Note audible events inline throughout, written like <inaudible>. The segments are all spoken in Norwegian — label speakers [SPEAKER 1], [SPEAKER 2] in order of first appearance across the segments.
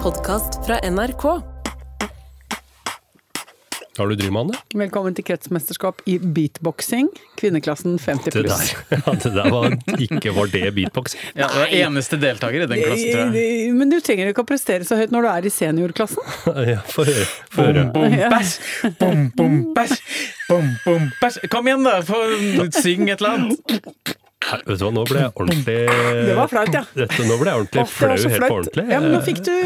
[SPEAKER 1] podkast fra NRK.
[SPEAKER 2] Har du driver med han, det?
[SPEAKER 3] Velkommen til kretsmesterskap i beatboxing, kvinneklassen 50
[SPEAKER 2] Det
[SPEAKER 3] pluss.
[SPEAKER 2] der, ja, det der var, ikke var det beatbox.
[SPEAKER 4] Ja, du er eneste deltaker i den klassen, tror jeg.
[SPEAKER 3] Men du trenger ikke å prestere så høyt når du er i seniorklassen.
[SPEAKER 2] Ja, Få høre. Få høre.
[SPEAKER 4] Bom, bæsj! Bom, bom, bæsj! Bom, bom, bæsj! Kom igjen, da! Få syng et eller annet.
[SPEAKER 2] Nei, Vet du hva, nå ble jeg ordentlig
[SPEAKER 3] Det var flaut, ja.
[SPEAKER 2] Dette, nå ble jeg ordentlig
[SPEAKER 3] Å, det
[SPEAKER 2] flau
[SPEAKER 3] var så
[SPEAKER 2] helt på
[SPEAKER 3] flaut.
[SPEAKER 2] ordentlig.
[SPEAKER 3] Ja, men nå fikk du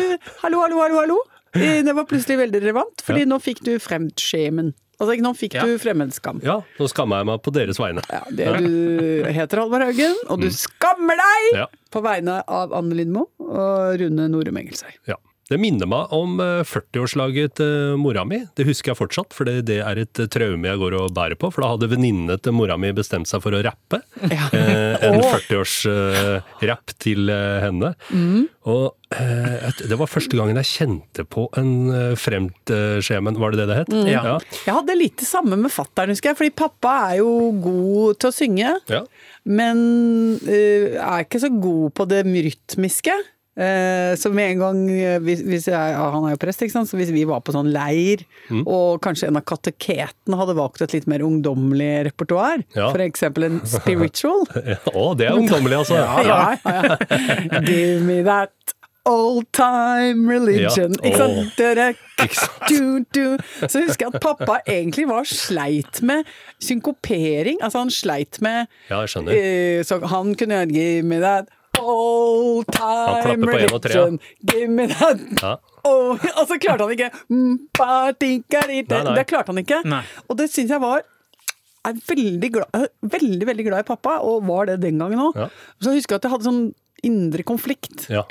[SPEAKER 3] Hallo, hallo, hallo, hallo. Eh, Det var plutselig veldig relevant, fordi nå fikk du fremskjemen. Altså, nå fikk
[SPEAKER 4] Ja.
[SPEAKER 3] du fremmedskam.
[SPEAKER 2] Ja, nå skammer jeg meg på deres vegne.
[SPEAKER 3] Ja, det du heter Halvard Haugen, og du skammer deg!
[SPEAKER 2] Mm. Ja.
[SPEAKER 3] På vegne av Anne Lindmo og Rune Norum Engelsøy.
[SPEAKER 2] Ja. Det minner meg om eh, 40-årslaget til mora mi. Det husker jeg fortsatt, for det det er et eh, traume jeg går og bærer på. For da hadde venninnene til mora mi bestemt seg for å rappe. Eh, en
[SPEAKER 3] Åh.
[SPEAKER 2] 40-årsrapp til eh, henne.
[SPEAKER 3] Mm.
[SPEAKER 2] Og eh, et- det var første gangen jeg kjente på en eh, fremtskjemen, var det det det het?
[SPEAKER 3] Mm.
[SPEAKER 4] Ja.
[SPEAKER 3] Jeg hadde litt det samme med fattern, husker jeg, fordi pappa er jo god til å synge.
[SPEAKER 2] Ja.
[SPEAKER 3] Men eh, er ikke så god på det rytmiske. Eh, så med en gang eh, hvis, hvis jeg, ja, Han er jo prest, ikke sant? så hvis vi var på sånn leir,
[SPEAKER 2] Mm.
[SPEAKER 3] og kanskje en av kateketene hadde valgt et litt mer ungdommelig repertoar,
[SPEAKER 2] Ja.
[SPEAKER 3] for f.eks. en
[SPEAKER 2] <laughs>
[SPEAKER 3] spiritual <laughs>
[SPEAKER 2] Ja. Å, det er ungdommelig, altså!
[SPEAKER 3] ja, ja, ja. Give me that old time religion.
[SPEAKER 2] Ja. Åh.
[SPEAKER 3] Ikke sant? Dere,
[SPEAKER 2] Ikke sant?
[SPEAKER 3] du, du. Så husker jeg at pappa egentlig var sleit med synkopering. Altså han sleit med
[SPEAKER 2] Ja, jeg skjønner.
[SPEAKER 3] eh, Så han kunne gjøre Give me that old
[SPEAKER 2] klapper
[SPEAKER 3] time
[SPEAKER 2] på en og tre, ja.
[SPEAKER 3] religion. Give me that
[SPEAKER 2] Ja.
[SPEAKER 3] Oh, altså klarte han ikke Mm, ba-dinka-di-di.
[SPEAKER 2] Nei, nei.
[SPEAKER 3] Det klarte han ikke.
[SPEAKER 4] Nei.
[SPEAKER 3] Og det syns jeg var er veldig glad, veldig, veldig glad i pappa, og var det den gangen òg.
[SPEAKER 2] Ja.
[SPEAKER 3] Så jeg husker at jeg hadde sånn indre konflikt.
[SPEAKER 2] Ja.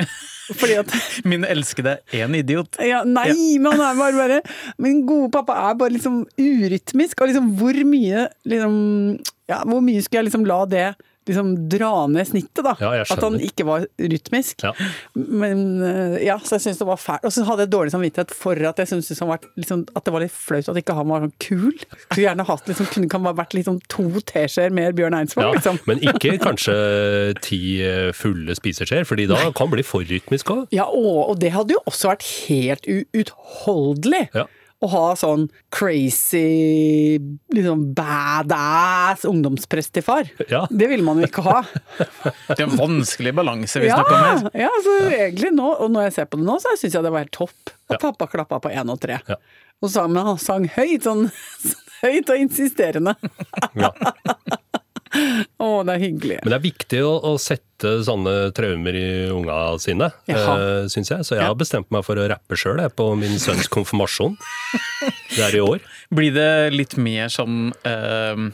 [SPEAKER 2] <laughs>
[SPEAKER 3] Fordi at
[SPEAKER 4] Min elskede er en idiot.
[SPEAKER 3] ja, Nei, men han er bare, bare Min gode pappa er bare liksom urytmisk, og liksom hvor mye liksom Ja, hvor mye skulle jeg liksom la det liksom dra ned snittet, da?
[SPEAKER 2] Ja, jeg skjønner.
[SPEAKER 3] at han ikke var rytmisk.
[SPEAKER 2] Ja.
[SPEAKER 3] Men eh, ja, så jeg syntes det var fælt. Og så hadde jeg dårlig samvittighet for at jeg syntes liksom, liksom, at det var litt flaut at ikke han var sånn kul. Skulle gjerne hatt liksom, kunne kan bare vært liksom to teskjeer mer Bjørn Eidsvåg,
[SPEAKER 2] Ja,
[SPEAKER 3] liksom.
[SPEAKER 2] Men ikke kanskje ti eh, fulle spiseskjeer, fordi da kan det bli for rytmisk òg.
[SPEAKER 3] Ja, og, og det hadde jo også vært helt u- utholdelig.
[SPEAKER 2] Ja.
[SPEAKER 3] Å ha sånn crazy, liksom badass ungdomsprest til far.
[SPEAKER 2] Ja.
[SPEAKER 3] Det ville man jo ikke
[SPEAKER 2] <laughs>
[SPEAKER 3] ha.
[SPEAKER 4] Det er en vanskelig balanse vi
[SPEAKER 3] Ja,
[SPEAKER 4] snakker om her.
[SPEAKER 3] ja, så egentlig nå, og når jeg ser på det nå, så syns jeg det var helt topp at
[SPEAKER 2] Ja.
[SPEAKER 3] pappa klappa på én og tre.
[SPEAKER 2] Ja.
[SPEAKER 3] Og så, men han sang høyt, sånn, <laughs> sånn høyt og insisterende.
[SPEAKER 2] <laughs> Ja.
[SPEAKER 3] Å, det er hyggelig.
[SPEAKER 2] Men det er viktig å, å sette sånne traumer i unga sine,
[SPEAKER 3] Jaha.
[SPEAKER 2] uh, syns jeg. Så jeg har bestemt meg for å rappe sjøl på min sønns konfirmasjon. Det er i år.
[SPEAKER 4] Blir det litt mer sånn ehm,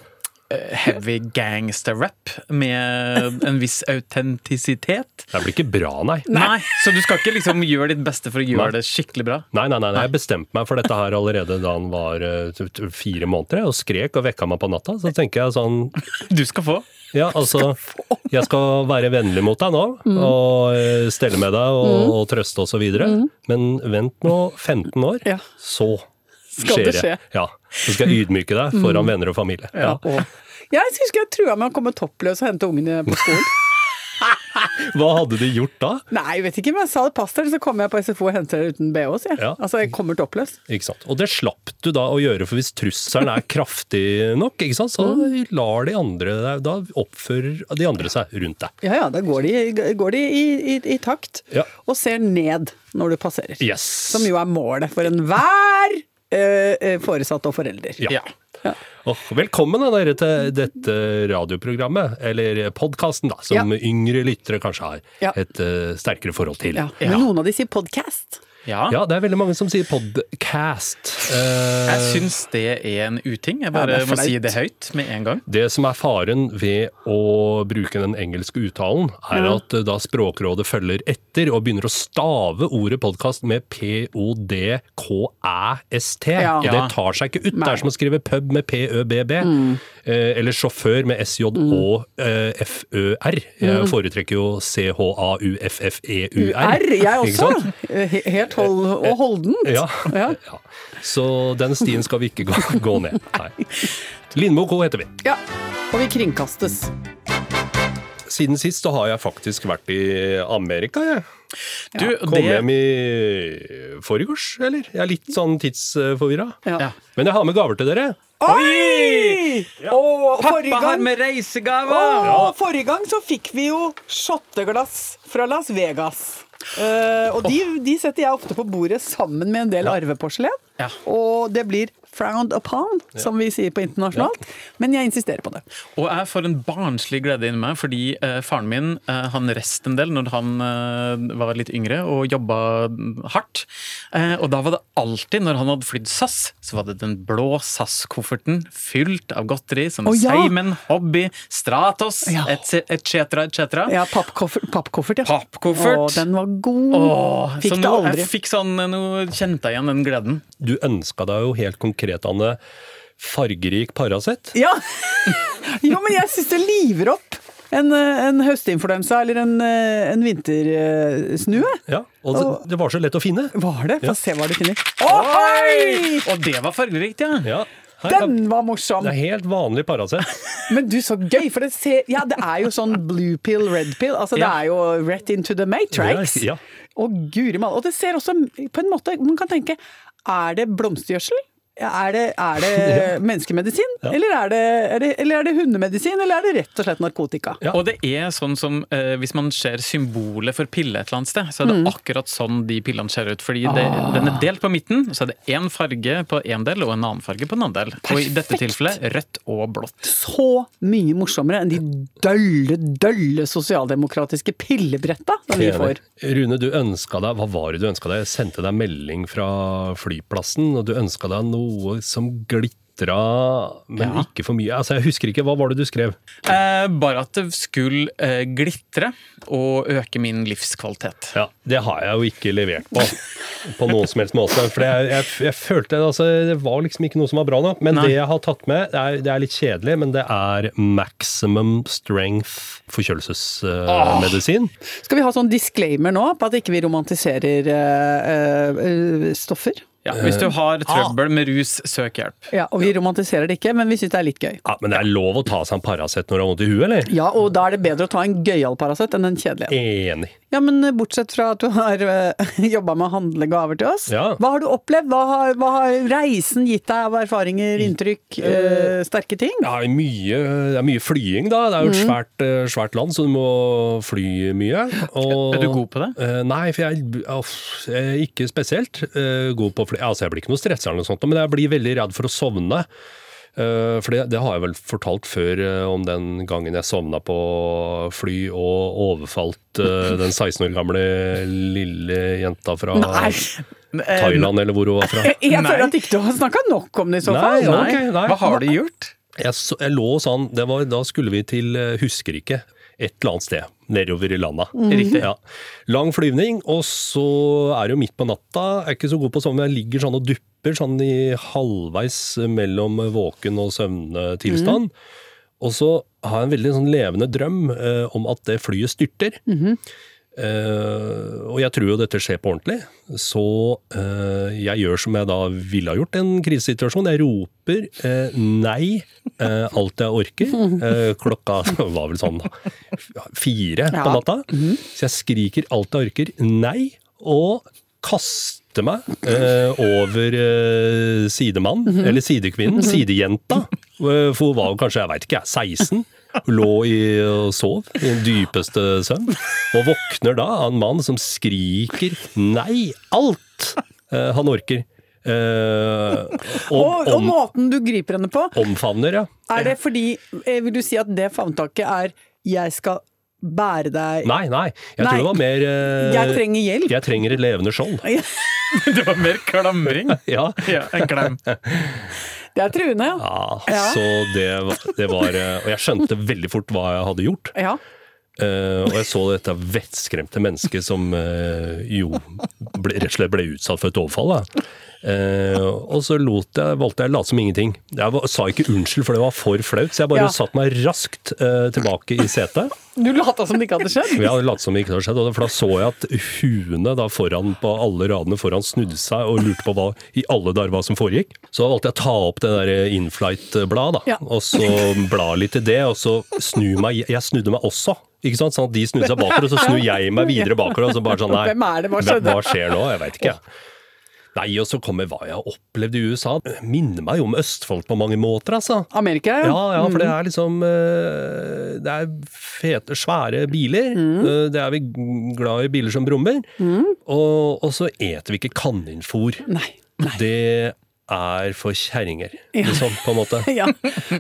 [SPEAKER 4] eh, heavy gangster-rap med en viss autentisitet?
[SPEAKER 2] Det blir ikke bra, nei.
[SPEAKER 4] Nei. Så du skal ikke liksom gjøre ditt beste for å
[SPEAKER 2] Nei.
[SPEAKER 4] gjøre det skikkelig bra?
[SPEAKER 2] Nei, nei, nei, nei, jeg bestemte meg for dette her allerede da han var eh, t- t- fire måneder, jeg, og skrek og vekka meg på natta. Så tenker jeg sånn
[SPEAKER 4] Du skal få.
[SPEAKER 2] Ja, altså Jeg skal være vennlig mot deg nå,
[SPEAKER 3] Mm.
[SPEAKER 2] og eh, stelle med deg og, og trøste og så videre. Men vent nå 15 år,
[SPEAKER 3] Mm. Ja.
[SPEAKER 2] så
[SPEAKER 3] Skal det skje? Mm.
[SPEAKER 2] Ja. Så skal jeg ydmyke deg foran venner og familie. Ja.
[SPEAKER 3] Å. Jeg husker jeg trua med å komme toppløs og hente ungene på skolen.
[SPEAKER 2] Hva hadde de gjort da?
[SPEAKER 3] Nei, jeg vet ikke, men jeg sa det pass dere, så kommer jeg på SFO og henter dere uten BH, sier jeg.
[SPEAKER 2] Ja.
[SPEAKER 3] Altså, jeg kommer toppløs.
[SPEAKER 2] Ikke sant? Og det slapp du da å gjøre, for hvis trusselen er kraftig nok, ikke sant? så
[SPEAKER 3] Mm.
[SPEAKER 2] lar de andre deg Da oppfører de andre seg rundt deg.
[SPEAKER 3] Ja ja, da går de, går de i, i, i takt,
[SPEAKER 2] Ja.
[SPEAKER 3] og ser ned når du passerer.
[SPEAKER 2] Yes.
[SPEAKER 3] Som jo er målet for enhver eh, eh, foresatt og forelder.
[SPEAKER 2] Ja. Og velkommen da, dere til dette radioprogrammet, eller podkasten, da, som
[SPEAKER 3] Ja.
[SPEAKER 2] yngre lyttere kanskje har
[SPEAKER 3] Ja.
[SPEAKER 2] et eh, sterkere forhold til.
[SPEAKER 3] Ja,
[SPEAKER 2] Ja.
[SPEAKER 3] Men noen av de sier podcast.
[SPEAKER 4] Ja.
[SPEAKER 2] det er veldig mange som sier podcast. Eh,
[SPEAKER 4] Jeg syns det er en uting. Jeg bare
[SPEAKER 3] det er
[SPEAKER 4] må si
[SPEAKER 3] flaut.
[SPEAKER 4] det høyt med en gang.
[SPEAKER 2] det som er faren ved å bruke den engelske uttalen, er at eh, da Språkrådet følger etter og begynner å stave ordet podkast med p-o-d-k-æ-s-t.
[SPEAKER 3] Ja.
[SPEAKER 2] Og det tar seg ikke ut. Det er som å skrive pub med p-ø-b-b,
[SPEAKER 3] Mm.
[SPEAKER 2] eh, eller sjåfør med eh, s-j-å-f-ø-r. Jeg foretrekker jo c-h-a-u-f-f-e-u-r.
[SPEAKER 3] Mm. R, jeg
[SPEAKER 2] E Ikke
[SPEAKER 3] også.
[SPEAKER 2] sant?
[SPEAKER 3] He- Helt hold og holdent.
[SPEAKER 2] Ja.
[SPEAKER 3] Ja.
[SPEAKER 2] <laughs> ja. Så den stien skal vi ikke gå, gå
[SPEAKER 3] <laughs>
[SPEAKER 2] ned. Nei. Lindmo Co. heter vi.
[SPEAKER 3] Ja. Og vi kringkastes.
[SPEAKER 2] Siden sist så har jeg faktisk vært i Amerika, jeg.
[SPEAKER 4] Du,
[SPEAKER 2] Kom hjem i forgårs, eller? Jeg er litt sånn tidsforvirra.
[SPEAKER 4] Ja.
[SPEAKER 2] Men jeg har med gaver til dere.
[SPEAKER 3] Oi! Og forrige
[SPEAKER 4] Pappa har
[SPEAKER 3] gang,
[SPEAKER 4] med reisegaver!
[SPEAKER 3] å, forrige gang så fikk vi jo shotteglass fra Las Vegas. Eh, og de, de setter jeg ofte på bordet sammen med en del arveporselen.
[SPEAKER 4] Ja.
[SPEAKER 3] Og det blir frowned upon, som vi sier på internasjonalt. Men jeg insisterer på det.
[SPEAKER 4] Og jeg får en barnslig glede inni meg, fordi eh, faren min eh, han rest en del når han eh, var litt yngre og jobba hardt. Eh, og da var det alltid, når han hadde flydd SAS, så var det den blå SAS-kofferten fylt av godteri som
[SPEAKER 3] Å, ja!
[SPEAKER 4] Seimen, Hobby, Stratos
[SPEAKER 3] Ja.
[SPEAKER 4] etc., etc.
[SPEAKER 3] Ja, pappkoffert, pappkoffert ja.
[SPEAKER 4] Pappkoffert.
[SPEAKER 3] Å, den var god.
[SPEAKER 4] Åh,
[SPEAKER 3] fikk
[SPEAKER 4] så
[SPEAKER 3] det
[SPEAKER 4] nå,
[SPEAKER 3] aldri.
[SPEAKER 4] jeg fikk sånn, nå kjente jeg igjen den gleden.
[SPEAKER 2] Du ønska deg jo helt konkret, Anne, fargerik Paracet.
[SPEAKER 3] Ja. <laughs> jo, men jeg syns det liver opp en, eh, en høstinfluensa eller en, eh, en vintersnue.
[SPEAKER 2] Ja, og det, det var så lett å finne.
[SPEAKER 3] Var det? Få
[SPEAKER 2] Ja.
[SPEAKER 3] se hva du finner. Ohoi!
[SPEAKER 4] Og det var fargerikt, ja!
[SPEAKER 2] Ja, her, er-
[SPEAKER 3] Den var morsom!
[SPEAKER 2] det er helt vanlig Paracet.
[SPEAKER 3] Men du, så gøy! For det, ser, ja, det er jo sånn blue pill, red pill. Altså, Det
[SPEAKER 4] Ja.
[SPEAKER 3] er jo rett into the matrix.
[SPEAKER 2] Ja, ja.
[SPEAKER 3] Og guri malla. Og det ser også på en måte Man kan tenke Er det blomstergjødsel? Er det, er det
[SPEAKER 2] <laughs>
[SPEAKER 3] menneskemedisin? Eller, er det, er det, eller er det hundemedisin? Eller er det rett og slett narkotika?
[SPEAKER 2] Ja.
[SPEAKER 4] Og det er sånn som eh, hvis man ser symbolet for pille et eller annet sted, så er det akkurat sånn de pillene ser ut. Fordi det, den er delt på midten, så er det én farge på én del og en annen farge på en annen del. Og i dette tilfellet rødt og blått.
[SPEAKER 3] så mye morsommere enn de dølle, dølle sosialdemokratiske pillebretta <laughs> som vi får.
[SPEAKER 2] Rune, du ønska deg Hva var det du ønska deg? Jeg sendte deg melding fra flyplassen, og du ønska deg noe som glitra, men
[SPEAKER 4] Ja.
[SPEAKER 2] ikke for mye. Altså, Jeg husker ikke. Hva var det du skrev?
[SPEAKER 4] Eh, bare at det skulle eh, glitre og øke min livskvalitet.
[SPEAKER 2] Ja, Det har jeg jo ikke levert på. På noen som helst måte. For jeg, jeg, jeg følte altså, Det var liksom ikke noe som var bra nok. Men
[SPEAKER 4] Nei.
[SPEAKER 2] det jeg har tatt med, det er, det er litt kjedelig, men det er maximum strength forkjølelsesmedisin.
[SPEAKER 3] Skal vi ha sånn disclaimer nå på at ikke vi romantiserer eh, eh, stoffer?
[SPEAKER 4] Ja, hvis du har trøbbel med rus, søk hjelp.
[SPEAKER 3] Ja, og vi romantiserer det ikke, men vi syns det er litt gøy.
[SPEAKER 2] Ja, men det er lov å ta seg en Paracet når du har vondt i huet, eller?
[SPEAKER 3] Ja, og da er det bedre å ta en gøyal Paracet enn en kjedelig en.
[SPEAKER 2] Enig.
[SPEAKER 3] Ja, men eh, bortsett fra at du har <laughs> uh, jobba med å handle gaver til oss,
[SPEAKER 2] Ja.
[SPEAKER 3] hva har du opplevd? Hva har, hva har reisen gitt deg av erfaringer, inntrykk, eh, sterke ting?
[SPEAKER 2] Ja, mye, det er mye flying, da. Det er jo
[SPEAKER 4] Mm.
[SPEAKER 2] et svært, eh, svært land, så du må fly mye. Og,
[SPEAKER 4] Er du god på det?
[SPEAKER 2] Eh, nei, for jeg aff, jeg er ikke spesielt eh, god på å fly. Altså, jeg blir ikke noe stressa, eller noe sånt, men jeg blir veldig redd for å sovne. Eh, for det, det har jeg vel fortalt før eh, om den gangen jeg sovna på fly og overfalt eh, den 16 år gamle lille jenta fra
[SPEAKER 3] Nei!
[SPEAKER 4] Eh,
[SPEAKER 2] Thailand, eller hvor hun var fra.
[SPEAKER 3] Jeg
[SPEAKER 4] Nei.
[SPEAKER 3] føler at ikke du har snakka nok om det i så fall.
[SPEAKER 2] Nei, ok, nei.
[SPEAKER 4] Hva har du gjort?
[SPEAKER 2] jeg, så, jeg lå sånn, det var, da skulle vi til eh, Huskerike, et eller annet sted, nedover i landet.
[SPEAKER 4] Riktig.
[SPEAKER 2] Ja. Lang flyvning, og så er det jo midt på natta, jeg er ikke så god på å sovne, jeg ligger sånn og dupper sånn i halvveis mellom våken og søvntilstand. Og så har jeg en veldig sånn levende drøm eh, om at det flyet styrter. Eh, og jeg tror jo dette skjer på ordentlig, så eh, jeg gjør som jeg da ville ha gjort i en krisesituasjon. Jeg roper eh, nei eh, alt jeg orker. Eh, klokka <laughs> var vel sånn fire på
[SPEAKER 3] Ja.
[SPEAKER 2] natta. Så jeg skriker alt jeg orker nei, og kaster meg eh, over eh, sidemannen, eller sidekvinnen, sidejenta. eh, For hun var jo kanskje, jeg veit ikke, jeg, 16. Hun lå i, og sov i den dypeste søvn. Og våkner da av en mann som skriker nei, alt eh, han orker. Eh,
[SPEAKER 3] Og,
[SPEAKER 2] og
[SPEAKER 3] og
[SPEAKER 2] om,
[SPEAKER 3] måten du griper henne på,
[SPEAKER 2] omfavner, ja.
[SPEAKER 3] er det fordi eh, Vil du si at det favntaket er 'jeg skal bære deg'?
[SPEAKER 2] Nei, nei. Jeg
[SPEAKER 3] Nei.
[SPEAKER 2] tror det var mer eh,
[SPEAKER 3] Jeg trenger hjelp.
[SPEAKER 2] Jeg trenger et levende skjold.
[SPEAKER 4] <laughs> Det var mer klamring.
[SPEAKER 2] Ja.
[SPEAKER 4] <laughs> Ja, en klem.
[SPEAKER 3] Det er truende, ja.
[SPEAKER 2] Ja,
[SPEAKER 3] Ja.
[SPEAKER 2] Ah, så det, var- det var eh, Og jeg skjønte veldig fort hva jeg hadde gjort.
[SPEAKER 3] ja.
[SPEAKER 2] Eh, og jeg så dette vettskremte mennesket som eh, jo ble, rett og slett ble utsatt for et overfall. Da. Eh, og så lot jeg, valgte jeg å late som ingenting. Jeg var, sa ikke unnskyld, for det var for flaut. Så jeg bare
[SPEAKER 3] Ja.
[SPEAKER 2] satte meg raskt eh, tilbake i setet.
[SPEAKER 3] Du lata som det ikke hadde skjedd?
[SPEAKER 2] <laughs> Vi hadde latt som det ikke hadde skjedd, og da- for da så jeg at huene da foran på alle radene foran snudde seg og lurte på hva i alle dager hva som foregikk. Så da valgte jeg å ta opp det der inflight-bladet, da,
[SPEAKER 3] Ja.
[SPEAKER 2] og så bla litt i det, og så snu meg Jeg snudde meg også Ikke sant? Sånn at de snudde seg bakover, og så snur jeg meg videre bakover. Og så bare sånn, nei,
[SPEAKER 3] Hvem er det? Hva
[SPEAKER 2] hva,
[SPEAKER 3] skjedde?
[SPEAKER 2] hva skjer nå? Jeg veit ikke. Nei, og så kommer hva jeg har opplevd i USA. Minner meg jo om Østfold på mange måter, altså.
[SPEAKER 3] Amerika,
[SPEAKER 2] Ja, ja, for det er liksom eh, Det er fete, svære biler. Eh, Det er vi glad i biler som brummer. Og, og så eter vi ikke kaninfôr.
[SPEAKER 3] Nei. <laughs>
[SPEAKER 2] Det er for kjerringer, liksom, på en måte.
[SPEAKER 3] Ja.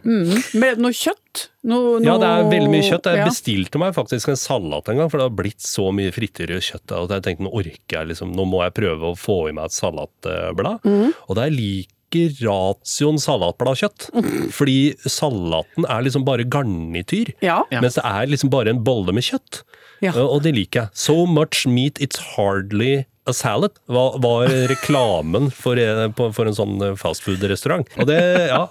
[SPEAKER 3] Mm. Ble det noe kjøtt? Noe,
[SPEAKER 2] Ja, det er
[SPEAKER 3] noe-
[SPEAKER 2] veldig mye kjøtt. Jeg
[SPEAKER 3] Ja.
[SPEAKER 2] bestilte meg faktisk en salat en gang, for det har blitt så mye frityrrødt kjøtt at jeg tenkte nå orker jeg liksom, nå må jeg prøve å få i meg et salatblad.
[SPEAKER 3] Mm.
[SPEAKER 2] Og det er like ratioen salatbladkjøtt, fordi salaten er liksom bare garnityr.
[SPEAKER 3] Ja.
[SPEAKER 4] Ja.
[SPEAKER 2] Mens det er liksom bare en bolle med kjøtt.
[SPEAKER 3] Ja.
[SPEAKER 2] Eh, Og det liker jeg. So much meat it's hardly a salad var, var reklamen for, eh, på- for en sånn fastfood-restaurant. Og det, ja,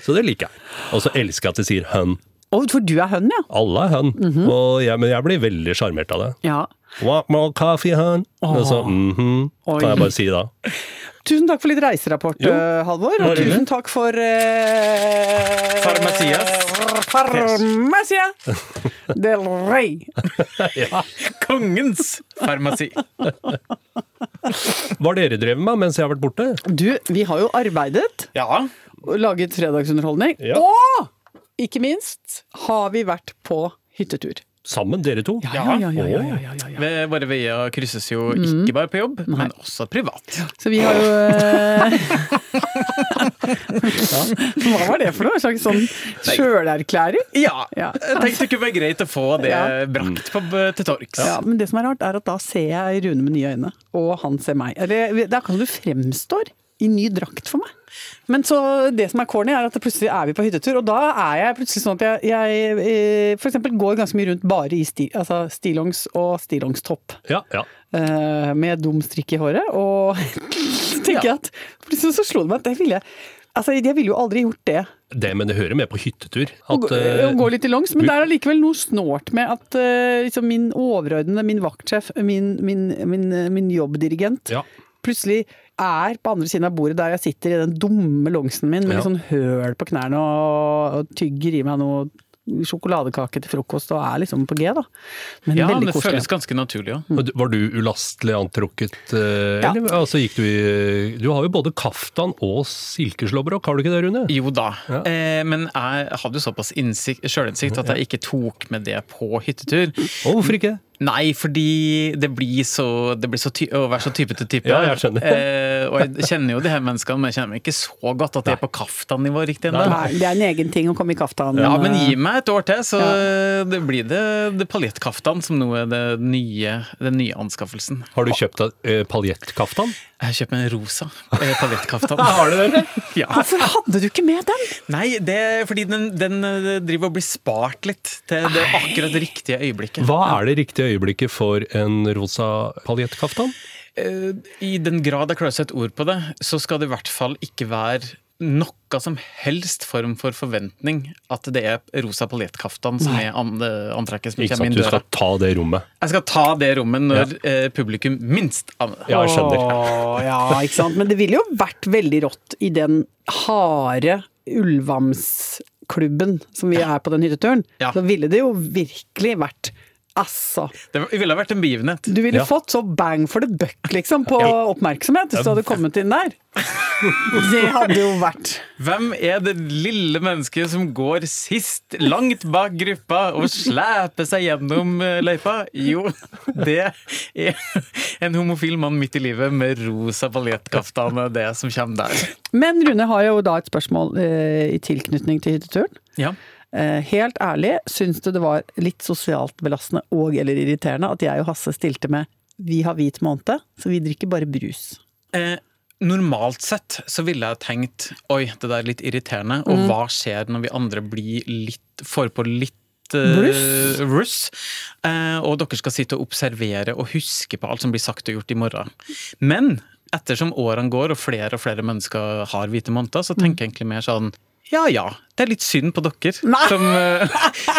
[SPEAKER 2] Så det liker jeg. Og så elsker jeg at de sier hønn.
[SPEAKER 3] Å, for du er hønn, ja.
[SPEAKER 2] Alle er hønn.
[SPEAKER 3] Mhm.
[SPEAKER 2] og jeg, men jeg blir veldig sjarmert av det.
[SPEAKER 3] ja.
[SPEAKER 2] Want more coffee, hun? Og så, mhm, kan
[SPEAKER 3] Oi.
[SPEAKER 2] jeg bare si da.
[SPEAKER 3] Tusen takk for litt reiserapport,
[SPEAKER 2] Jo.
[SPEAKER 3] eh, Halvor.
[SPEAKER 2] Bare
[SPEAKER 3] Og tusen
[SPEAKER 2] hyggelig.
[SPEAKER 3] takk for eh,
[SPEAKER 4] Farmasias.
[SPEAKER 2] <laughs>
[SPEAKER 3] Farmacia del Rey.
[SPEAKER 4] Kongens farmasi!
[SPEAKER 2] Hva har dere drevet med mens jeg har vært borte?
[SPEAKER 3] Du, vi har jo arbeidet
[SPEAKER 4] Ja.
[SPEAKER 3] og laget fredagsunderholdning.
[SPEAKER 2] Ja.
[SPEAKER 3] Og ikke minst har vi vært på hyttetur.
[SPEAKER 2] Sammen, dere to?
[SPEAKER 3] ja, ja, ja, ja, ja, ja.
[SPEAKER 4] Ved- Våre veier krysses jo
[SPEAKER 3] Mhm.
[SPEAKER 4] ikke bare på jobb, men også privat.
[SPEAKER 3] Så vi har jo eh, <laughs> Hva var det for noe? En slags sånn sjølerklæring?
[SPEAKER 4] Ja,
[SPEAKER 3] Ja.
[SPEAKER 4] jeg tenkte det kunne være greit å få det
[SPEAKER 3] Ja.
[SPEAKER 4] brakt på, til torgs.
[SPEAKER 3] Ja, men det som er rart, er at da ser jeg Rune med nye øyne, og han ser meg. Eller, det er akkurat som du fremstår i ny drakt for meg. Men så det som er corny, er at det plutselig er vi på hyttetur, og da er jeg plutselig sånn at jeg, jeg eh, for eksempel går ganske mye rundt bare i sti, altså stillongs og stillongstopp.
[SPEAKER 2] Ja, ja.
[SPEAKER 3] eh, Med dum strikk i håret, og <laughs> tenker jeg at Plutselig så slo det meg at det ville jeg Altså, jeg ville jo aldri gjort det.
[SPEAKER 2] Det, men det hører med på hyttetur.
[SPEAKER 3] Å
[SPEAKER 2] At,
[SPEAKER 3] gå-
[SPEAKER 2] eh,
[SPEAKER 3] å gå litt i langs, men det er allikevel noe snålt med at eh, liksom min overordnede, min vaktsjef, min, min, min, eh, min jobbdirigent,
[SPEAKER 2] ja.
[SPEAKER 3] plutselig er på andre siden av bordet der jeg sitter i den dumme longsen min med
[SPEAKER 2] Ja.
[SPEAKER 3] litt sånn høl på knærne og, og tygger i meg noe sjokoladekake til frokost og er liksom på G, da. Men
[SPEAKER 4] Ja,
[SPEAKER 3] veldig
[SPEAKER 4] det
[SPEAKER 3] koselig.
[SPEAKER 4] føles ganske naturlig òg.
[SPEAKER 2] Og du- Var du ulastelig antrukket? eh,
[SPEAKER 3] Ja.
[SPEAKER 2] Eller, altså, gikk du, i, du har jo både kaftan og silkeslåbrok, har du ikke det, Rune?
[SPEAKER 4] Jo da,
[SPEAKER 2] Ja.
[SPEAKER 4] eh, men jeg hadde jo såpass innsikt- sjølinnsikt at jeg ikke tok med det på hyttetur.
[SPEAKER 2] Og hvorfor ikke?
[SPEAKER 4] Nei, fordi det blir så, det blir så ty å være så type til type.
[SPEAKER 2] Ja, jeg skjønner.
[SPEAKER 4] Eh, og jeg kjenner jo de her menneskene, men jeg kjenner meg ikke så godt at de er på kaftan-nivå riktig ennå.
[SPEAKER 3] Nei, det er en egen ting å komme i kaftan.
[SPEAKER 4] Ja,
[SPEAKER 3] eh,
[SPEAKER 4] men gi meg et år til, så det blir det, det paljettkaftan som nå er det nye, den nye anskaffelsen.
[SPEAKER 2] Har du kjøpt deg eh, paljettkaftan?
[SPEAKER 4] Jeg kjøper en rosa eh,
[SPEAKER 2] <laughs>
[SPEAKER 4] paljettkaftan.
[SPEAKER 2] Har du det?
[SPEAKER 4] Ja.
[SPEAKER 3] Hvorfor hadde du ikke med den?
[SPEAKER 4] Nei, det er fordi den, den eh, driver og blir spart litt til det akkurat riktige øyeblikket.
[SPEAKER 2] Hva er det riktige øyeblikket for en rosa paljettkaftan?
[SPEAKER 4] Eh, I den grad jeg klarer å sette ord på det, så skal det i hvert fall ikke være noe som helst form for forventning at det er rosa paljettkaftan som er an, eh, antrekket som
[SPEAKER 2] Ikke
[SPEAKER 4] kommer
[SPEAKER 2] sant,
[SPEAKER 4] inn
[SPEAKER 2] du skal
[SPEAKER 4] døra.
[SPEAKER 2] ta det rommet.
[SPEAKER 4] Jeg skal ta det rommet når eh, publikum minst aner det.
[SPEAKER 2] Ja, jeg skjønner.
[SPEAKER 3] Åh, ja, ikke sant? Men det ville jo vært veldig rått i den harde Ulvamsklubben som vi er på den hytteturen.
[SPEAKER 4] Ja.
[SPEAKER 3] Så ville det jo virkelig vært Altså,
[SPEAKER 4] Det ville vært en begivenhet.
[SPEAKER 3] du ville
[SPEAKER 2] Ja.
[SPEAKER 3] fått så bang for the buck, liksom, på oppmerksomhet hvis du hadde kommet inn der. <laughs> Det hadde jo vært
[SPEAKER 4] Hvem er det lille mennesket som går sist, langt bak gruppa, og sleper seg gjennom eh, løypa? Jo, det er en homofil mann midt i livet med rosa paljettkaftan. Det er det som kommer der.
[SPEAKER 3] Men Rune har jo da et spørsmål eh, i tilknytning til hytteturen.
[SPEAKER 4] Ja.
[SPEAKER 3] Eh, helt ærlig, syns du det var litt sosialt belastende og eller irriterende at jeg og Hasse stilte med 'vi har hvit måned', så vi drikker bare brus?
[SPEAKER 4] Eh, normalt sett så ville jeg tenkt Oi, det der er litt irriterende. Og
[SPEAKER 2] Mhm.
[SPEAKER 4] hva skjer når vi andre blir litt får på litt eh,
[SPEAKER 3] Russ.
[SPEAKER 4] russ? Eh, og dere skal sitte og observere og huske på alt som blir sagt og gjort i morgen. Men ettersom årene går og flere og flere mennesker har hvite måneder, så tenker jeg egentlig mer sånn ja ja, det er litt synd på dere som eh,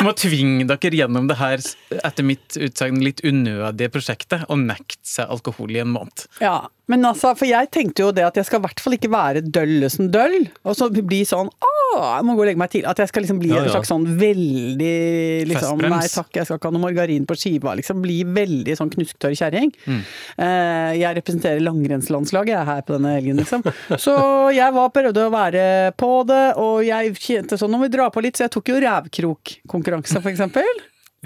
[SPEAKER 4] må tvinge dere gjennom det her, etter mitt utsagn, litt unødige prosjektet og nekte seg alkohol i en måned.
[SPEAKER 3] Ja, men altså, for jeg tenkte jo det at jeg skal i hvert fall ikke være dølle som døll, og så bli sånn 'Å, jeg må gå og legge meg tidlig. At jeg skal liksom bli
[SPEAKER 2] Ja,
[SPEAKER 3] en
[SPEAKER 2] ja.
[SPEAKER 3] slags sånn veldig liksom,
[SPEAKER 4] Festbrems.
[SPEAKER 3] Nei takk, jeg skal ikke ha noe margarin på skiva. Liksom bli veldig sånn knusktørr kjerring.
[SPEAKER 2] Mm.
[SPEAKER 3] Eh, jeg representerer langrennslandslaget jeg er her på denne helgen, liksom. Så jeg var prøvde å være på det, og jeg kjente sånn Nå må vi dra på litt, så jeg tok jo rævkrokkonkurranse, for eksempel.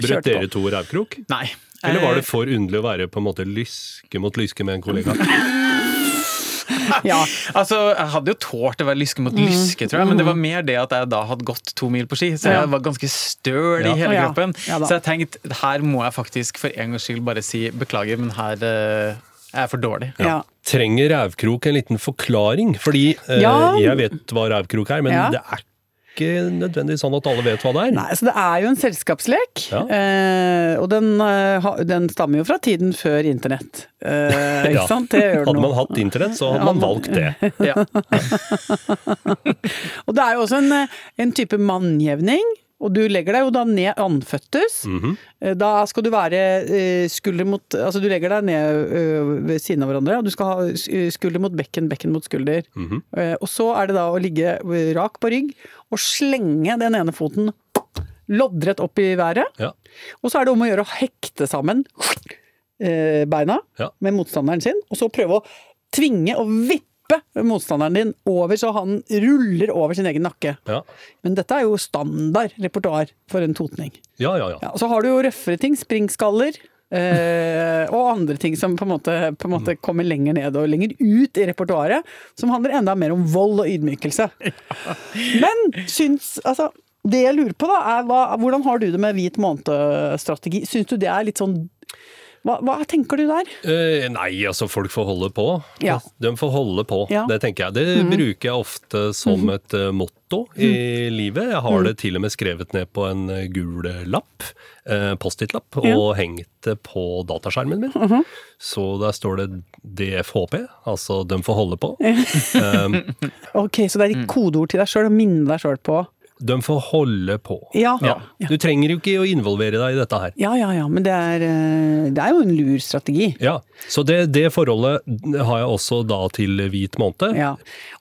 [SPEAKER 2] Brøt
[SPEAKER 3] Kjørte på.
[SPEAKER 2] dere to rævkrok?
[SPEAKER 4] Nei.
[SPEAKER 2] Eller var
[SPEAKER 3] Eh,
[SPEAKER 2] det for underlig å være på en måte lyske mot lyske med en kollega?
[SPEAKER 3] Ja.
[SPEAKER 4] Altså, Jeg hadde jo tålt å være lyske mot
[SPEAKER 3] Mm.
[SPEAKER 4] lyske, tror jeg, men det var mer det at jeg da hadde gått to mil på ski, så
[SPEAKER 3] Ja.
[SPEAKER 4] jeg var ganske støl
[SPEAKER 2] Ja.
[SPEAKER 4] i hele
[SPEAKER 3] Ja.
[SPEAKER 4] kroppen.
[SPEAKER 3] Ja da.
[SPEAKER 4] så jeg tenkte her må jeg faktisk for en gangs skyld bare si beklager, men her eh, er jeg for dårlig.
[SPEAKER 3] <laughs> ja.
[SPEAKER 2] Trenger rævkrok en liten forklaring? Fordi eh,
[SPEAKER 3] Ja.
[SPEAKER 2] jeg vet hva rævkrok er, men
[SPEAKER 3] Ja.
[SPEAKER 2] det er ikke nødvendigvis sånn at alle vet hva det er.
[SPEAKER 3] Nei, så det er jo en selskapslek,
[SPEAKER 2] Ja.
[SPEAKER 3] eh, og den, eh, ha- den stammer jo fra tiden før internett. Eh,
[SPEAKER 2] <laughs>
[SPEAKER 3] ikke
[SPEAKER 2] Ja.
[SPEAKER 3] sant? Det gjør den
[SPEAKER 2] Hadde
[SPEAKER 3] nå.
[SPEAKER 2] man hatt internett, så hadde
[SPEAKER 3] <laughs> Ja,
[SPEAKER 2] man
[SPEAKER 3] man-
[SPEAKER 2] valgt det.
[SPEAKER 3] <laughs>
[SPEAKER 4] Ja.
[SPEAKER 3] Og det er jo også en, eh, en type mannjevning. Og du legger deg jo da ned
[SPEAKER 2] Mm.
[SPEAKER 3] anføttes.
[SPEAKER 2] Mhm,
[SPEAKER 3] Eh, Da skal du være eh, skulder mot Altså du legger deg ned ø, ved siden av hverandre, og du skal ha eh, skulder mot bekken, bekken mot skulder.
[SPEAKER 2] mhm.
[SPEAKER 3] Eh, Og så er det da å ligge eh, rak på rygg og slenge den ene foten loddrett opp i været.
[SPEAKER 2] Ja.
[SPEAKER 3] Og så er det om å gjøre å hekte sammen eh, beina
[SPEAKER 2] Ja.
[SPEAKER 3] med motstanderen sin, og så prøve å tvinge og vippe motstanderen din over så han ruller over sin egen nakke.
[SPEAKER 2] Ja,
[SPEAKER 3] Men dette er jo standard repertoar for en totning.
[SPEAKER 2] ja, ja. ja.
[SPEAKER 3] Ja, og så har du jo røffere ting, springskaller. eh, og andre ting som på en, måte, på en måte kommer lenger ned og lenger ut i repertoaret. Som handler enda mer om vold og ydmykelse. Men syns Altså, det jeg lurer på, da, er hva, hvordan har du det med hvit måned-strategi? Syns du det er litt sånn Hva, hva tenker du der?
[SPEAKER 2] Eh, nei, altså folk får holde på.
[SPEAKER 3] Ja.
[SPEAKER 2] De får holde på,
[SPEAKER 3] Ja. Mhm.
[SPEAKER 2] det tenker jeg. Det bruker jeg ofte som et eh, motto i
[SPEAKER 3] Mhm.
[SPEAKER 2] livet. Jeg har det til og med skrevet ned på en eh, gul lapp, eh, Post-It-lapp, og hengt det på dataskjermen min.
[SPEAKER 3] Mhm.
[SPEAKER 2] Så der står det DFHP, altså de får holde på. Eh,
[SPEAKER 3] Ok, Så det er et kodeord til deg sjøl, å minne deg sjøl på
[SPEAKER 2] de får holde på.
[SPEAKER 3] ja. ja.
[SPEAKER 4] Ja.
[SPEAKER 2] Du trenger jo ikke å involvere deg i dette her.
[SPEAKER 3] Ja, ja, Men det er, eh, det er jo en lur strategi.
[SPEAKER 2] Ja, Så det, det forholdet har jeg også da til hvit måned.
[SPEAKER 3] Ja.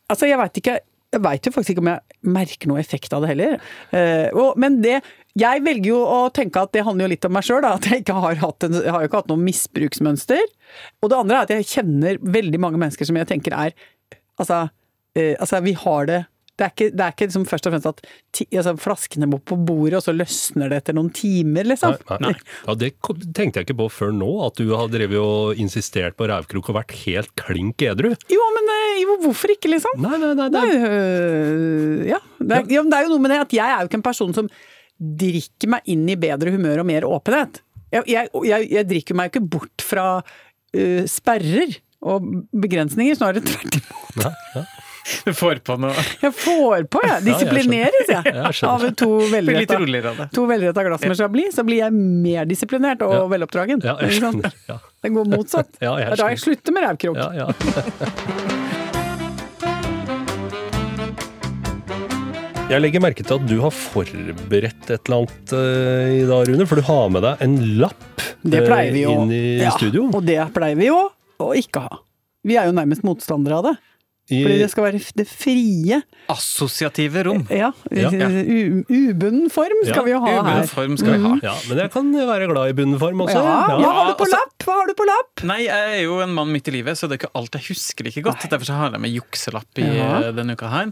[SPEAKER 3] Altså, jeg veit ikke Jeg vet jo faktisk ikke om jeg merker noe effekt av det heller. Eh, og, men det Jeg velger jo å tenke at det handler jo litt om meg sjøl, at jeg ikke har hatt en, jeg har jo ikke hatt noe misbruksmønster. Og det andre er at jeg kjenner veldig mange mennesker som jeg tenker er Altså, eh, altså vi har det det er ikke, det er ikke liksom først og fremst at ti, altså flaskene må på bordet, og så løsner det etter noen timer, liksom.
[SPEAKER 2] Nei, nei. Ja, det kom- tenkte jeg ikke på før nå, at du har drevet og insistert på rævkrok og vært helt klink edru.
[SPEAKER 3] Jo, men eh, jo, hvorfor ikke, liksom?
[SPEAKER 2] Nei, nei, nei.
[SPEAKER 3] Nei,
[SPEAKER 2] nei.
[SPEAKER 3] øh, ja. Det er, ja, men det er jo noe med det at jeg er jo ikke en person som drikker meg inn i bedre humør og mer åpenhet. Jeg, jeg, jeg, jeg drikker meg jo ikke bort fra øh, sperrer og begrensninger, snarere tvert imot.
[SPEAKER 2] Nei, ja.
[SPEAKER 4] Du <laughs> får på
[SPEAKER 3] <laughs>
[SPEAKER 4] noe.
[SPEAKER 3] Jeg får på, jeg.
[SPEAKER 2] Ja, jeg skjønner.
[SPEAKER 3] Disiplineres, jeg.
[SPEAKER 2] Ja, jeg skjønner.
[SPEAKER 3] Av to
[SPEAKER 4] Blir litt
[SPEAKER 3] velretta,
[SPEAKER 4] roligere av det.
[SPEAKER 3] to velretta glass med chablis, så blir jeg mer disiplinert og
[SPEAKER 2] Ja.
[SPEAKER 3] veloppdragen.
[SPEAKER 2] ja, jeg
[SPEAKER 3] Ikke sant?
[SPEAKER 2] skjønner. Ja,
[SPEAKER 3] Det går motsatt.
[SPEAKER 2] Ja, jeg
[SPEAKER 3] det er da jeg slutter med rævkrok.
[SPEAKER 2] ja. ja. <laughs> Jeg legger merke til at du har forberedt et eller annet eh, i dag, Rune. For du har med deg en lapp
[SPEAKER 3] Det
[SPEAKER 2] eh,
[SPEAKER 3] pleier vi jo.
[SPEAKER 2] inn i
[SPEAKER 3] Ja,
[SPEAKER 2] studio.
[SPEAKER 3] Og det pleier vi jo å ikke ha. Vi er jo nærmest motstandere av det.
[SPEAKER 2] I-
[SPEAKER 3] Fordi det skal være f- det frie,
[SPEAKER 4] Assosiative rom.
[SPEAKER 3] ja,
[SPEAKER 2] Ja.
[SPEAKER 3] u- ubunden form skal
[SPEAKER 2] Ja,
[SPEAKER 3] vi jo ha
[SPEAKER 4] Ubunden
[SPEAKER 3] her.
[SPEAKER 4] form skal vi
[SPEAKER 3] Mm.
[SPEAKER 4] ha.
[SPEAKER 2] ja, men jeg kan være glad i bunden form også.
[SPEAKER 3] Ja, hva har du på
[SPEAKER 4] altså-
[SPEAKER 3] lapp? Hva har du på lapp?
[SPEAKER 4] Nei, jeg er jo en mann midt i livet, så det er ikke alt jeg husker like godt. Derfor så har jeg med jukselapp i
[SPEAKER 3] Ja.
[SPEAKER 4] eh, denne uka her.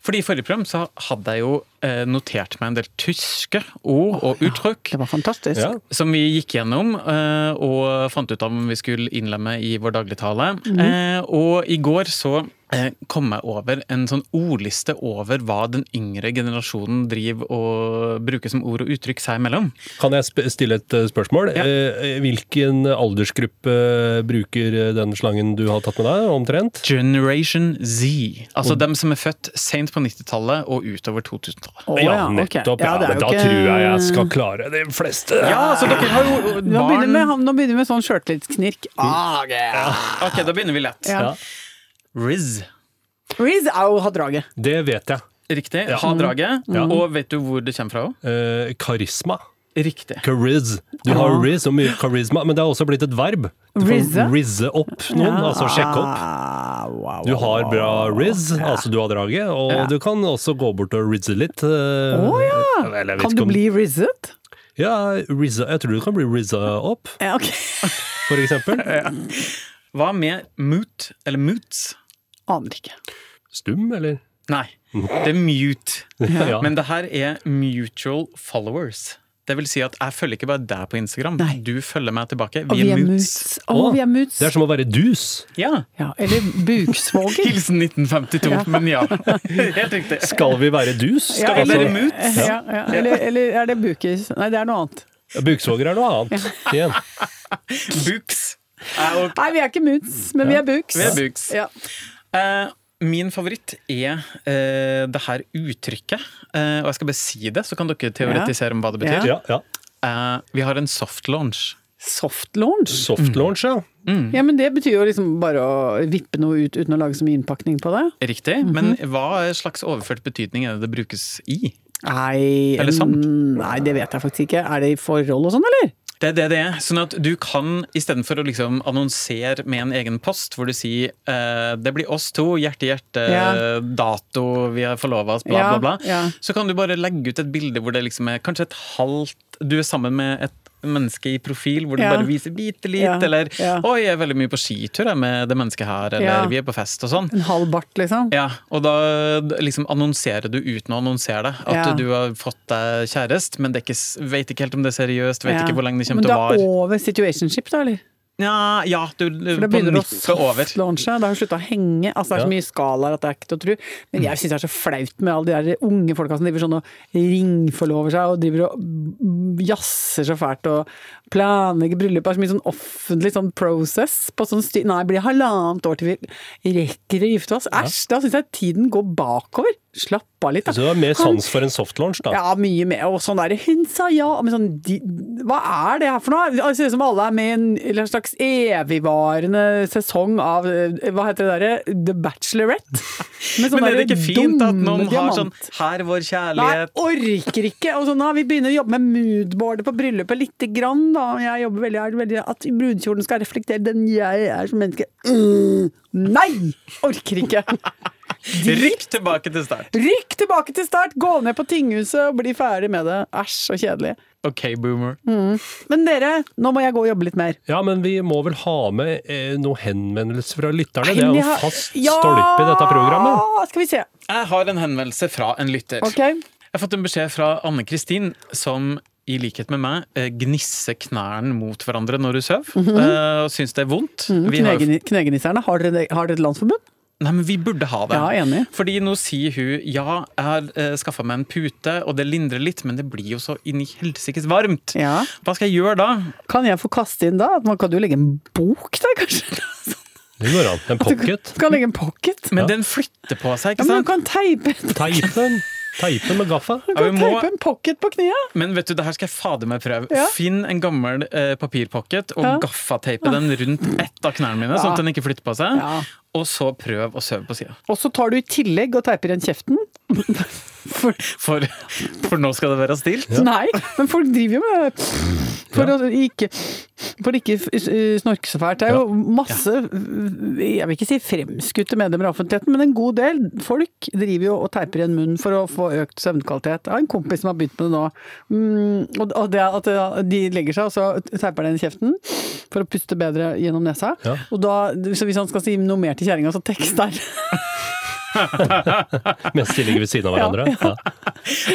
[SPEAKER 4] Fordi i forrige program så hadde jeg jo eh, notert meg en del tyske ord og uttrykk.
[SPEAKER 3] Det var fantastisk.
[SPEAKER 2] Ja.
[SPEAKER 4] Som vi gikk gjennom eh, og fant ut av om vi skulle innlemme i vår dagligtale. Eh, og i går så eh, kom jeg over en sånn ordliste over hva den yngre generasjonen driver og bruker som ord og uttrykk seg imellom.
[SPEAKER 2] Kan jeg sp- stille et eh, spørsmål?
[SPEAKER 4] Ja.
[SPEAKER 2] Eh, Hvilken aldersgruppe eh, bruker eh, den slangen du har tatt med deg, omtrent?
[SPEAKER 4] Generation Z. Altså dem som er født sent på 90-tallet og utover 2000-tallet.
[SPEAKER 3] Å, ja, ok.
[SPEAKER 2] nettopp.
[SPEAKER 3] Ja,
[SPEAKER 2] Ja, altså.
[SPEAKER 3] det er jo
[SPEAKER 2] da
[SPEAKER 3] ikke-
[SPEAKER 2] tror jeg jeg skal klare de fleste.
[SPEAKER 4] Ja, så dere har jo
[SPEAKER 3] Nå begynner, vi,
[SPEAKER 4] barn
[SPEAKER 3] nå begynner vi med sånn sjøltillitsknirk.
[SPEAKER 2] Mm.
[SPEAKER 3] Ah,
[SPEAKER 4] Ok, da begynner vi lett.
[SPEAKER 3] Ja.
[SPEAKER 4] Riz.
[SPEAKER 3] Riz au ha draget.
[SPEAKER 2] Det vet jeg.
[SPEAKER 4] Riktig. Ha draget. Og vet du hvor det kommer fra?
[SPEAKER 2] Eh, karisma.
[SPEAKER 4] Riktig.
[SPEAKER 2] Chariz. Du har riz og mye karisma, men det har også blitt et verb. Du får
[SPEAKER 3] Rizze?
[SPEAKER 2] rizze opp noen, altså sjekke opp.
[SPEAKER 3] Ah, wow. wow,
[SPEAKER 2] Du
[SPEAKER 3] wow,
[SPEAKER 2] har
[SPEAKER 3] wow,
[SPEAKER 2] bra
[SPEAKER 3] wow.
[SPEAKER 2] rizz, altså du har draget, og
[SPEAKER 4] Ja.
[SPEAKER 2] du kan også gå bort og rizze litt. eh,
[SPEAKER 3] Å ja!
[SPEAKER 2] eller jeg vet
[SPEAKER 3] Kan
[SPEAKER 2] ikke
[SPEAKER 3] du
[SPEAKER 2] om-
[SPEAKER 3] bli rizzet?
[SPEAKER 2] Ja, rizza, jeg tror du kan bli rizza opp,
[SPEAKER 3] Ja, ok.
[SPEAKER 2] for eksempel.
[SPEAKER 3] <laughs>
[SPEAKER 4] Hva med moot, eller moots?
[SPEAKER 3] Aner ikke.
[SPEAKER 2] Stum, eller?
[SPEAKER 4] Nei, det er mute.
[SPEAKER 2] Ja.
[SPEAKER 4] Men det her er mutual followers. Det vil si at jeg følger ikke bare deg på Instagram,
[SPEAKER 3] Nei.
[SPEAKER 4] du følger meg tilbake.
[SPEAKER 3] Og
[SPEAKER 4] Vi er moots.
[SPEAKER 3] Å,
[SPEAKER 2] Å,
[SPEAKER 3] vi er moots.
[SPEAKER 2] Det er som å være dus.
[SPEAKER 4] Ja.
[SPEAKER 3] Ja, eller
[SPEAKER 2] <laughs>
[SPEAKER 3] buksvåger.
[SPEAKER 4] Hilsen 1952, men ja. Helt riktig.
[SPEAKER 2] Skal vi være dus?
[SPEAKER 3] Ja,
[SPEAKER 2] Skal vi
[SPEAKER 4] eller
[SPEAKER 2] altså-
[SPEAKER 4] moots.
[SPEAKER 3] Ja, ja. Eller, eller er det bukis? Nei, det er noe annet.
[SPEAKER 2] Buksvåger er noe annet. Igjen.
[SPEAKER 4] Books. Jeg og
[SPEAKER 3] Nei, vi er ikke moots, men vi er buks.
[SPEAKER 4] Mm. vi er books.
[SPEAKER 3] Ja.
[SPEAKER 4] Eh, Min favoritt er eh, det her uttrykket. Eh, og jeg skal bare si det, så kan dere teoretisere om hva det betyr.
[SPEAKER 2] Ja, ja.
[SPEAKER 4] Eh, vi har en soft launch.
[SPEAKER 3] Soft launch?
[SPEAKER 2] Soft launch, ja.
[SPEAKER 4] Mm.
[SPEAKER 3] Ja, men det betyr jo liksom bare å vippe noe ut uten å lage så mye innpakning på det.
[SPEAKER 4] Riktig. Men hva slags overført betydning er det det brukes i?
[SPEAKER 3] Nei,
[SPEAKER 4] Eller sant?
[SPEAKER 3] mm, Nei, det vet jeg faktisk ikke. Er det i forhold og sånn, eller?
[SPEAKER 4] Det er det det er. Sånn at du kan, istedenfor å liksom annonsere med en egen post hvor du sier eh, 'det blir oss to, hjerte, hjerte,
[SPEAKER 3] Ja.
[SPEAKER 4] dato, vi har forlova oss', bla,
[SPEAKER 3] Ja,
[SPEAKER 4] bla, bla,
[SPEAKER 3] ja.
[SPEAKER 4] så kan du bare legge ut et bilde hvor det liksom er kanskje et halvt Du er sammen med et menneske i profil hvor du
[SPEAKER 3] Ja.
[SPEAKER 4] bare viser bitte litt,
[SPEAKER 3] Ja,
[SPEAKER 4] eller
[SPEAKER 3] ja.
[SPEAKER 4] 'oi, jeg er veldig mye på skitur jeg, med det mennesket her', eller
[SPEAKER 3] Ja.
[SPEAKER 4] 'vi er på fest' og sånn.
[SPEAKER 3] En halv bart, liksom?
[SPEAKER 4] Ja, og da liksom annonserer du uten å annonsere det. At
[SPEAKER 3] Ja.
[SPEAKER 4] du har fått deg kjæreste, men det er ikke, s- vet ikke helt om det er seriøst, vet
[SPEAKER 3] Ja.
[SPEAKER 4] ikke hvor lenge det
[SPEAKER 3] Men
[SPEAKER 4] kommer til å vare.
[SPEAKER 3] det er over situationship, da, eller?
[SPEAKER 4] Ja, ja du,
[SPEAKER 3] For det
[SPEAKER 4] på
[SPEAKER 3] begynner å
[SPEAKER 4] nippet over.
[SPEAKER 3] softlaunche. Det har jo slutta å henge. Altså, det er så
[SPEAKER 2] Ja.
[SPEAKER 3] mye skalaer at det er ikke til å tro. Men jeg syns det er så flaut med alle de der unge folka som driver sånn og ringforlover seg og driver og b- jazzer så fælt og planlegger bryllup. Det er så mye sånn offentlig sånn process på sånn styr... Nei, det blir halvannet år til vi rekker å gifte oss. Æsj! Da syns jeg tiden går bakover. Slapp av litt, da.
[SPEAKER 2] Så du har mer sånn
[SPEAKER 3] Kan-
[SPEAKER 2] sans for en soft launch, da.
[SPEAKER 3] ja, mye mer. Og sånn der, hun sa ja. Men sånn, de, hva er det her for noe? Altså, Det ser ut som alle er med i en eller annen slags evigvarende sesong av eh, Hva heter det derre? The Bachelorette? Med
[SPEAKER 4] <laughs> Men er det
[SPEAKER 3] derre
[SPEAKER 4] ikke fint at noen
[SPEAKER 3] dumme
[SPEAKER 4] har
[SPEAKER 3] diamant-
[SPEAKER 4] sånn 'her er vår
[SPEAKER 3] Nei,
[SPEAKER 4] kjærlighet'?
[SPEAKER 3] orker ikke! Og sånn, da, vi begynner å jobbe med moodboardet på bryllupet lite grann, da. Jeg jobber veldig hardt. Veldig, at brudekjolen skal reflektere den jeg er som menneske. Mm, nei! Orker
[SPEAKER 4] <laughs>
[SPEAKER 3] ikke!
[SPEAKER 4] Rykk tilbake til start.
[SPEAKER 3] Rykk tilbake til start! Gå ned på tinghuset og bli ferdig med det. Æsj, så kjedelig.
[SPEAKER 4] OK, boomer.
[SPEAKER 3] Mm. Men dere, nå må jeg gå og jobbe litt mer.
[SPEAKER 2] Ja, men vi må vel ha med eh, noen henvendelser fra lytterne? Det er
[SPEAKER 3] Men
[SPEAKER 2] jo
[SPEAKER 3] jeg
[SPEAKER 2] en
[SPEAKER 3] har-
[SPEAKER 2] fast
[SPEAKER 3] Ja!
[SPEAKER 2] stolpe i dette programmet.
[SPEAKER 3] Skal vi se.
[SPEAKER 4] Jeg har en henvendelse fra en lytter.
[SPEAKER 3] Ok.
[SPEAKER 4] Jeg har fått en beskjed fra Anne Kristin, som i likhet med meg eh, gnisser knærne mot hverandre når hun sover.
[SPEAKER 3] Mhm.
[SPEAKER 4] eh, Og syns det er vondt. Vi har jo-
[SPEAKER 3] Knegeni- Knegenisserne, har dere, e- har dere et landsforbund?
[SPEAKER 4] Nei, men vi burde ha det.
[SPEAKER 3] Ja, enig.
[SPEAKER 4] Fordi nå sier hun ja, jeg har eh, skaffa meg en pute, og det lindrer litt, men det blir jo så inni helsikes varmt.
[SPEAKER 3] Ja.
[SPEAKER 4] Hva skal jeg gjøre da?
[SPEAKER 3] Kan jeg få kaste inn da? Man kan jo legge en bok der, <laughs> kanskje?
[SPEAKER 2] Det går an. En pocket.
[SPEAKER 3] Du kan legge en pocket.
[SPEAKER 4] Men
[SPEAKER 2] Ja.
[SPEAKER 4] den flytter på seg,
[SPEAKER 3] Ja,
[SPEAKER 4] ikke
[SPEAKER 3] men du
[SPEAKER 4] sant?
[SPEAKER 3] kan teipe, du
[SPEAKER 2] Teip den. Teip den med gaffa.
[SPEAKER 4] Ja, vi
[SPEAKER 3] kan
[SPEAKER 4] må-
[SPEAKER 3] teipe en pocket på kneet.
[SPEAKER 4] Men vet du, det her skal jeg fader meg prøve.
[SPEAKER 3] Ja.
[SPEAKER 4] Finn en gammel eh, papirpocket og
[SPEAKER 3] Ja.
[SPEAKER 4] gaffateipe den rundt ett av knærne mine, sånn at den ikke flytter på seg.
[SPEAKER 3] Ja.
[SPEAKER 4] Og så prøv å sove på sida.
[SPEAKER 3] Og så tar du i tillegg og teiper igjen kjeften. <laughs> For,
[SPEAKER 4] For, for nå skal det være stilt.
[SPEAKER 3] Nei, men folk driver jo med det. For å ikke, for å ikke eh, snorke så fælt. Det er jo masse, jeg vil ikke si fremskutte medlemmer av offentligheten, men en god del folk driver jo og teiper igjen munnen for å få økt søvnkvalitet. Jeg har en kompis som har begynt med det nå. Mm, og- Og det er at eh, de legger seg, og så teiper de igjen kjeften for å puste bedre gjennom nesa.
[SPEAKER 2] Ja.
[SPEAKER 3] Og da, så hvis han skal si noe mer til kjerringa, så tekster han.
[SPEAKER 2] Mens de ligger ved siden av hverandre. Ja.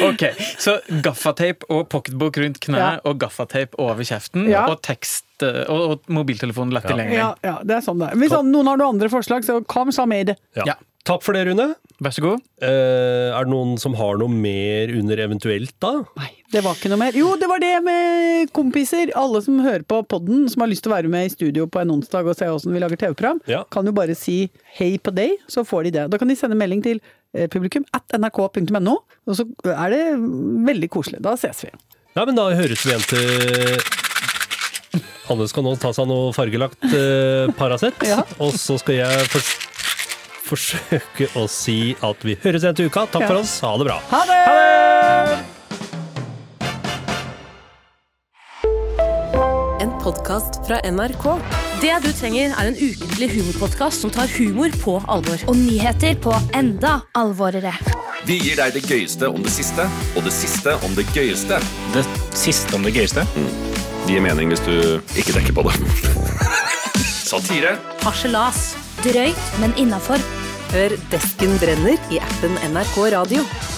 [SPEAKER 4] Ok, Så gaffateip og pocketbok rundt kneet,
[SPEAKER 3] Ja.
[SPEAKER 4] og gaffateip over kjeften,
[SPEAKER 3] Ja.
[SPEAKER 4] og tekst eh, og, og mobiltelefonen lett tilgjengelig.
[SPEAKER 3] Ja, ja, det er sånn det er. Hvis han- noen har noen andre forslag, så kom, sa med det.
[SPEAKER 2] Ja.
[SPEAKER 4] Ja.
[SPEAKER 2] Takk for det, Rune.
[SPEAKER 4] Vær så god.
[SPEAKER 2] Eh, er det noen som har noe mer under eventuelt, da?
[SPEAKER 3] Nei, det var ikke noe mer. Jo, det var det med kompiser. Alle som hører på podden, som har lyst til å være med i studio på en onsdag og se åssen vi lager TV-program,
[SPEAKER 2] Ja.
[SPEAKER 3] kan jo bare si hei på deg, så får de det. Da kan de sende melding til eh, publikum at nrk.no, og så er det veldig koselig. Da ses vi.
[SPEAKER 2] Nei, men da høres vi igjen til Hanne skal nå ta seg noe fargelagt eh, Paracet,
[SPEAKER 3] Ja.
[SPEAKER 2] og så skal jeg fors forsøke å si at vi høres igjen til uka. Takk
[SPEAKER 3] Ja.
[SPEAKER 2] for oss, ha det bra.
[SPEAKER 3] Ha det!
[SPEAKER 1] En podkast fra NRK.
[SPEAKER 5] Det du trenger er en ukentlig humorpodkast som tar humor på alvor.
[SPEAKER 6] og nyheter på enda alvorere.
[SPEAKER 7] Vi gir deg det gøyeste om det siste, og det siste om det gøyeste. Mm.
[SPEAKER 8] Det siste om det gøyeste.
[SPEAKER 7] Det gir mening hvis du ikke tenker
[SPEAKER 8] <laughs>
[SPEAKER 7] på det. Satire.
[SPEAKER 5] Harselas.
[SPEAKER 6] Drøyt, men innafor.
[SPEAKER 1] Hør Desken brenner i appen NRK Radio.